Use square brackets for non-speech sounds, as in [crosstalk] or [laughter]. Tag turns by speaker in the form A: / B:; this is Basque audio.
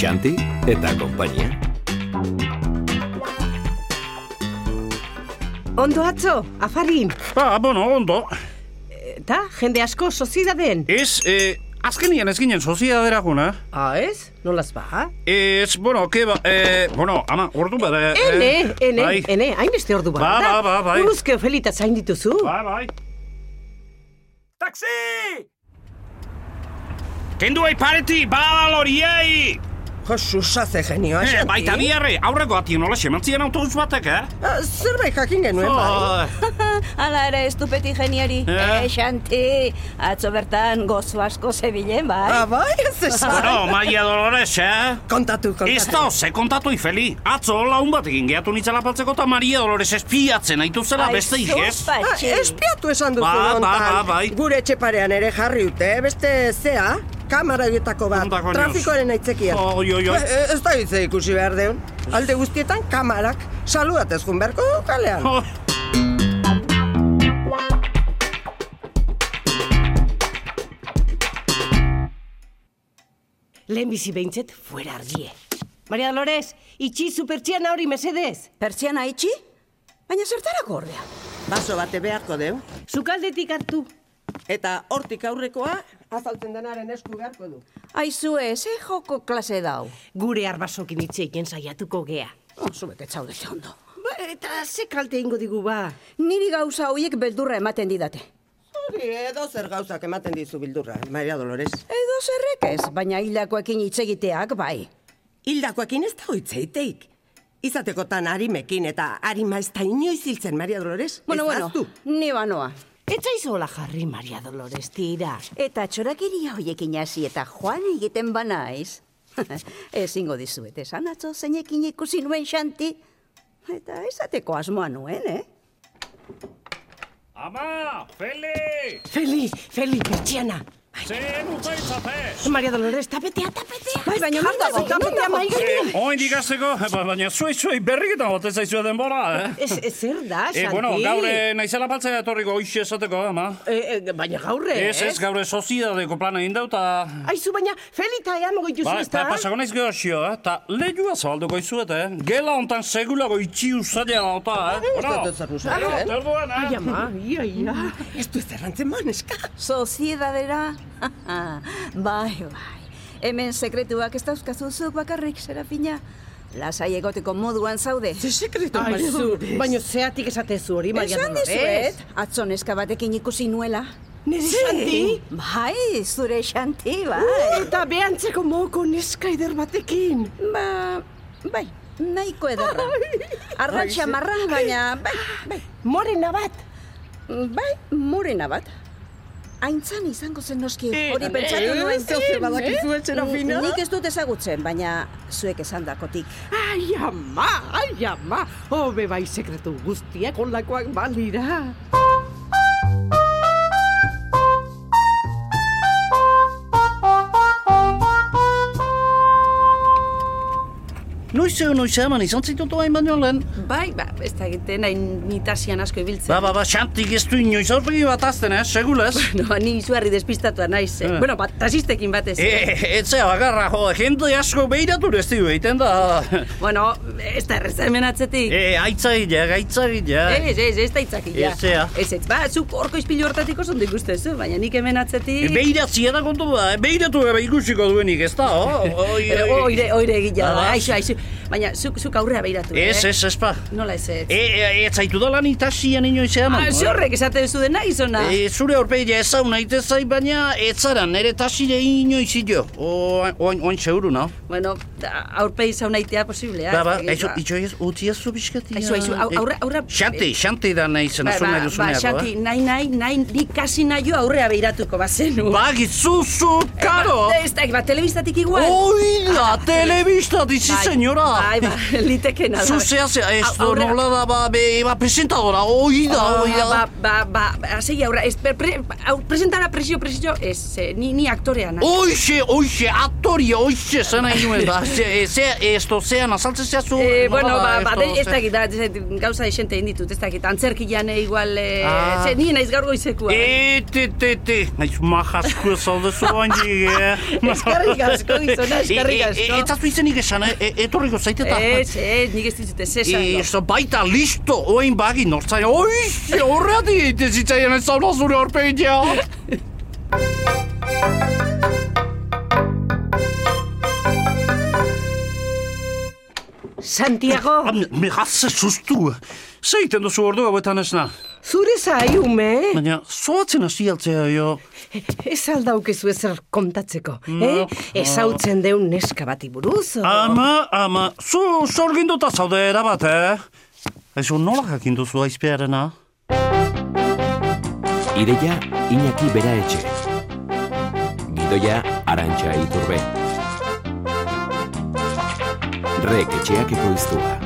A: Xanti eta konpainia.
B: Ondo atzo, afarin.
C: Ba, bueno, ondo.
B: Eta, jende asko sozidaden.
C: Ez, eh, azkenien ez ginen soziadera juna.
B: Ah, ez? Nolaz ba?
C: Ez, bueno, keba, eh, bueno, ama, ordu bada... eh,
B: Ene, ene,
C: bai.
B: ene, hainbeste ordu bat.
C: Ba,
B: da?
C: ba, ba, bai.
B: Buruzke ofelita zain dituzu.
C: Bai, bai.
D: Taxi! Kendu hai pareti, badal horiei!
E: Josusa ze genioa,
C: Eh,
E: Xanti.
C: baita biarre, aurreko atien nola semantzien autobus batek, eh?
E: Ah, Zerbait jakin genuen, bai.
C: Oh,
F: Hala ere, estupeti geniari.
C: Eh?
F: Eh? Xanti, atzo bertan gozo asko zebilen, bai.
E: Ah, bai, ez
C: [laughs]
E: esan.
C: bueno, Maria Dolores, eh?
E: Kontatu,
C: Ez da,
E: kontatu.
C: ze kontatu ifeli. Atzo laun bat egin gehiatu nintzela paltzeko eta Maria Dolores espiatzen aitu zela beste igez.
F: bai,
E: Ah, espiatu esan duzu
C: Ba, ba,
E: hontan.
C: ba, bai.
E: Gure etxeparean ere jarri dute, eh, beste zea, kamara horietako bat,
C: Kontako
E: trafikoaren aitzekia.
C: Oi, oi, oi.
E: Eh, Ez da hitze ikusi behar deun. Alde guztietan kamarak, saludatez jun beharko du kalean.
C: Oh,
B: Lehen bizi behintzet, fuera argie. Maria Dolores, itxi supertxiana hori mesedez.
F: Pertsiana itxi? Baina zertarako ordea?
E: Baso bate beharko deu.
B: Zukaldetik hartu.
E: Eta hortik aurrekoa, azaltzen denaren esku beharko du.
F: Aizu ez, eh, joko klase dau. Oh,
B: Gure arbasokin hitz egiten saiatuko gea.
E: Oso bete txaude.
F: Zondo.
B: Ba, eta ze kalte ingo digu ba.
F: Niri gauza hoiek beldurra ematen didate.
E: Zuri edo zer gauzak ematen dizu bildurra, Maria Dolores.
F: Edo zerrek ez, baina hilakoekin hitz egiteak, bai.
E: Hildakoekin ez da hitzeiteik. Izatekotan arimekin eta arima ez da inoiz hiltzen, Maria Dolores.
F: Bueno,
E: Ez
F: bueno,
E: ahaztu.
F: ni banoa.
B: Etzaizola jarri, Maria Dolores, tira.
F: Eta txorakeria hoiekin hasi eta joan egiten banaiz. [laughs] Ezingo dizuet, esan atzo zeinekin ikusi nuen xanti. Eta esateko asmoa nuen, eh?
D: Ama, Feli!
B: Feli, Feli, pertsiana.
D: Zer utza izate!
B: Maria Dolores, tapetea, tapetea. Bai,
F: baina non dago, non dago?
B: gainean.
C: Oin dikazteko, eh, ba, baina zuei zuei berriketan batez aizua denbora, eh?
B: Ez, ez zer da, Xanti?
C: E, bueno, gaur eh, naizela baltzea etorriko hoxe esateko, ama.
B: Eh, eh, baina gaurre,
C: Ez, ez, gaur soziadeko plana egin dauta...
B: Aizu, baina Felita eamo goitu
C: Ba,
B: ba,
C: eta pasako naiz gehoxio, eh? Ta lehua zabalduko izuet, eh? Gela hontan segulako itxi usaila dauta, eh?
E: Ez dut ezer usaila, eh?
C: Orduan, eh?
B: Ai, ama, ia, ia.
E: Ez du zerrantzen maneska.
F: Soziedadera, [laughs] bai, bai. Hemen sekretuak ez dauzkazu zuk bakarrik, Serafina. Lasai egoteko moduan zaude.
E: Ze sekretu, Maria
B: Aizu,
E: Dolores.
B: baina zeatik esatezu hori, Maria
F: Esan
B: Dolores.
F: dizuet, atzo neska batekin ikusi nuela.
B: Nire Xanti?
F: Bai, zure xanti, bai.
B: Eta behantzeko moko neska eder batekin.
F: Ba, bai, nahiko ederra. Arda txamarra, baina, bai, bai,
B: Morena bat.
F: bai, morena bat. Aintzan izango zen noski, hori
G: eh,
F: pentsatu nuen.
E: Zeu zer badakizu etxera fina.
F: Nik ez dut ezagutzen, baina zuek esandakotik.
B: Ai, ama, ai, ama. Hobe bai sekretu guztiak onlakoak balira.
C: Noiz eo noiz eman izan zitutu hain baino lehen.
G: Bai, ba, ez da egiten hain nitasian asko ibiltzen.
C: Ba, ba, ba, xantik ez du inoiz aurpegi bat azten, eh? Segulez.
G: [laughs] No, ni izuarri despistatua naiz. Eh.
C: Eh.
G: Bueno, bat, taxistekin batez. eh.
C: E, etzea bakarra, jo, jende asko behiratu ez du egiten da.
G: Bueno, ez da erreza hemen atzetik.
C: E, aitzagileak, aitzagileak.
G: Ez, ez, ez da itzakia.
C: Ez, ea.
G: Ez, ez, ba, zuk orko izpilu hortatik oso ondo ikustezu, baina nik hemen
C: E,
G: atzetik...
C: behiratzia da kontu ba, behiratu ebe ikusiko duenik, ez da, o? Oi,
G: Eh,
C: oi.
G: Oire, oire egia da,
C: Ah.
G: aixo, aixo. Baina zuk, zuk aurrera behiratu,
C: Ez, ez, ez, ba.
G: Nola ez ez?
C: E, e, ez zaitu da lan itasian inoiz eman.
G: Eh, Ah, zorrek esate duzu dena gizona.
C: E, zure aurpegia ezaun aitezai, baina ez zara nere tasire inoiz ilo. Oain, oain, oain seguru, no?
G: Bueno, da, aurpegi zaunaitea posiblea.
C: Ba, ba,
G: ez dakit,
C: aizu, itxo ez, utzi ez zu bizkatia. E,
G: Aizu, aizu, au- aurra- aurra-
C: Xanti, xanti da nahi zen, azu nahi
G: ba,
C: duzuneako,
G: xati,
C: eh?
G: nahi, nahi, nahi, nik kasi nahi aurrea behiratuko bazenu.
C: Ba, gizuzu,
G: Eh,
C: karo!
G: Ba, Ez da, ba, telebistatik igual.
C: Oi
G: Ah,
C: da, telebista, dizi,
G: Bai,
C: senyora!
G: Bai, ba, [laughs] litekena da.
C: Zuzea, ze, ez,
G: Au- aurrera-
C: nola da, ba, be, ba, presentadora, oi da, oi da.
G: Ba, ba, ba, ba, segi aurra, ez, pre, pre, au, presentara presio, presio, ez, eh, ni, ni aktorea nahi.
C: Oixe, oixe, aktorea historia hoxe zan nahi nuen
G: [laughs]
C: da. Ze, e, ze, esto zean, azaltzea zu.
G: Eh,
C: nola
G: bueno, ba,
C: esto,
G: ba, de, ez
C: ze-
G: dakit, da, ze- gauza esente egin ditut, ez dakit, antzerkian eh, igual, eh,
C: Ah.
G: ze, ni naiz gaur eh. goizekua.
C: Ete, Eh, te, te. Naiz majazko zaldezu baindik,
G: [laughs]
C: eh? [laughs]
G: Eskerrik asko,
B: [laughs]
G: gizona, eskerrik asko.
C: E, e, e, etzazu izenik esan, eh? E, etorriko zaiteta.
G: Ez, ez, Eh, nik ez dizut ez esan.
C: E,
G: no.
C: Esto baita listo, oin bagi nortzain. Oixe, horreati egite zitzaien ez zauna zure horpegitea.
B: Santiago,
C: Mejatze sustu. Zeiten duzu ordu hauetan esna.
B: zure zai ume,
C: Baina, zoatzen hasi altzea, jo.
B: ez aldaukezu ezer kontatzeko,
C: No.
B: eh? Ez hautzen deun neska bati buruz, o?
C: Ama, ama, zu zorginduta zaude erabat, eh? Aizu, nola jakin duzu aizpearena?
A: Ideia Iñaki Bera Etxe. Gidoia Arantxa Iturbe. Rek etxeak ekoiztua.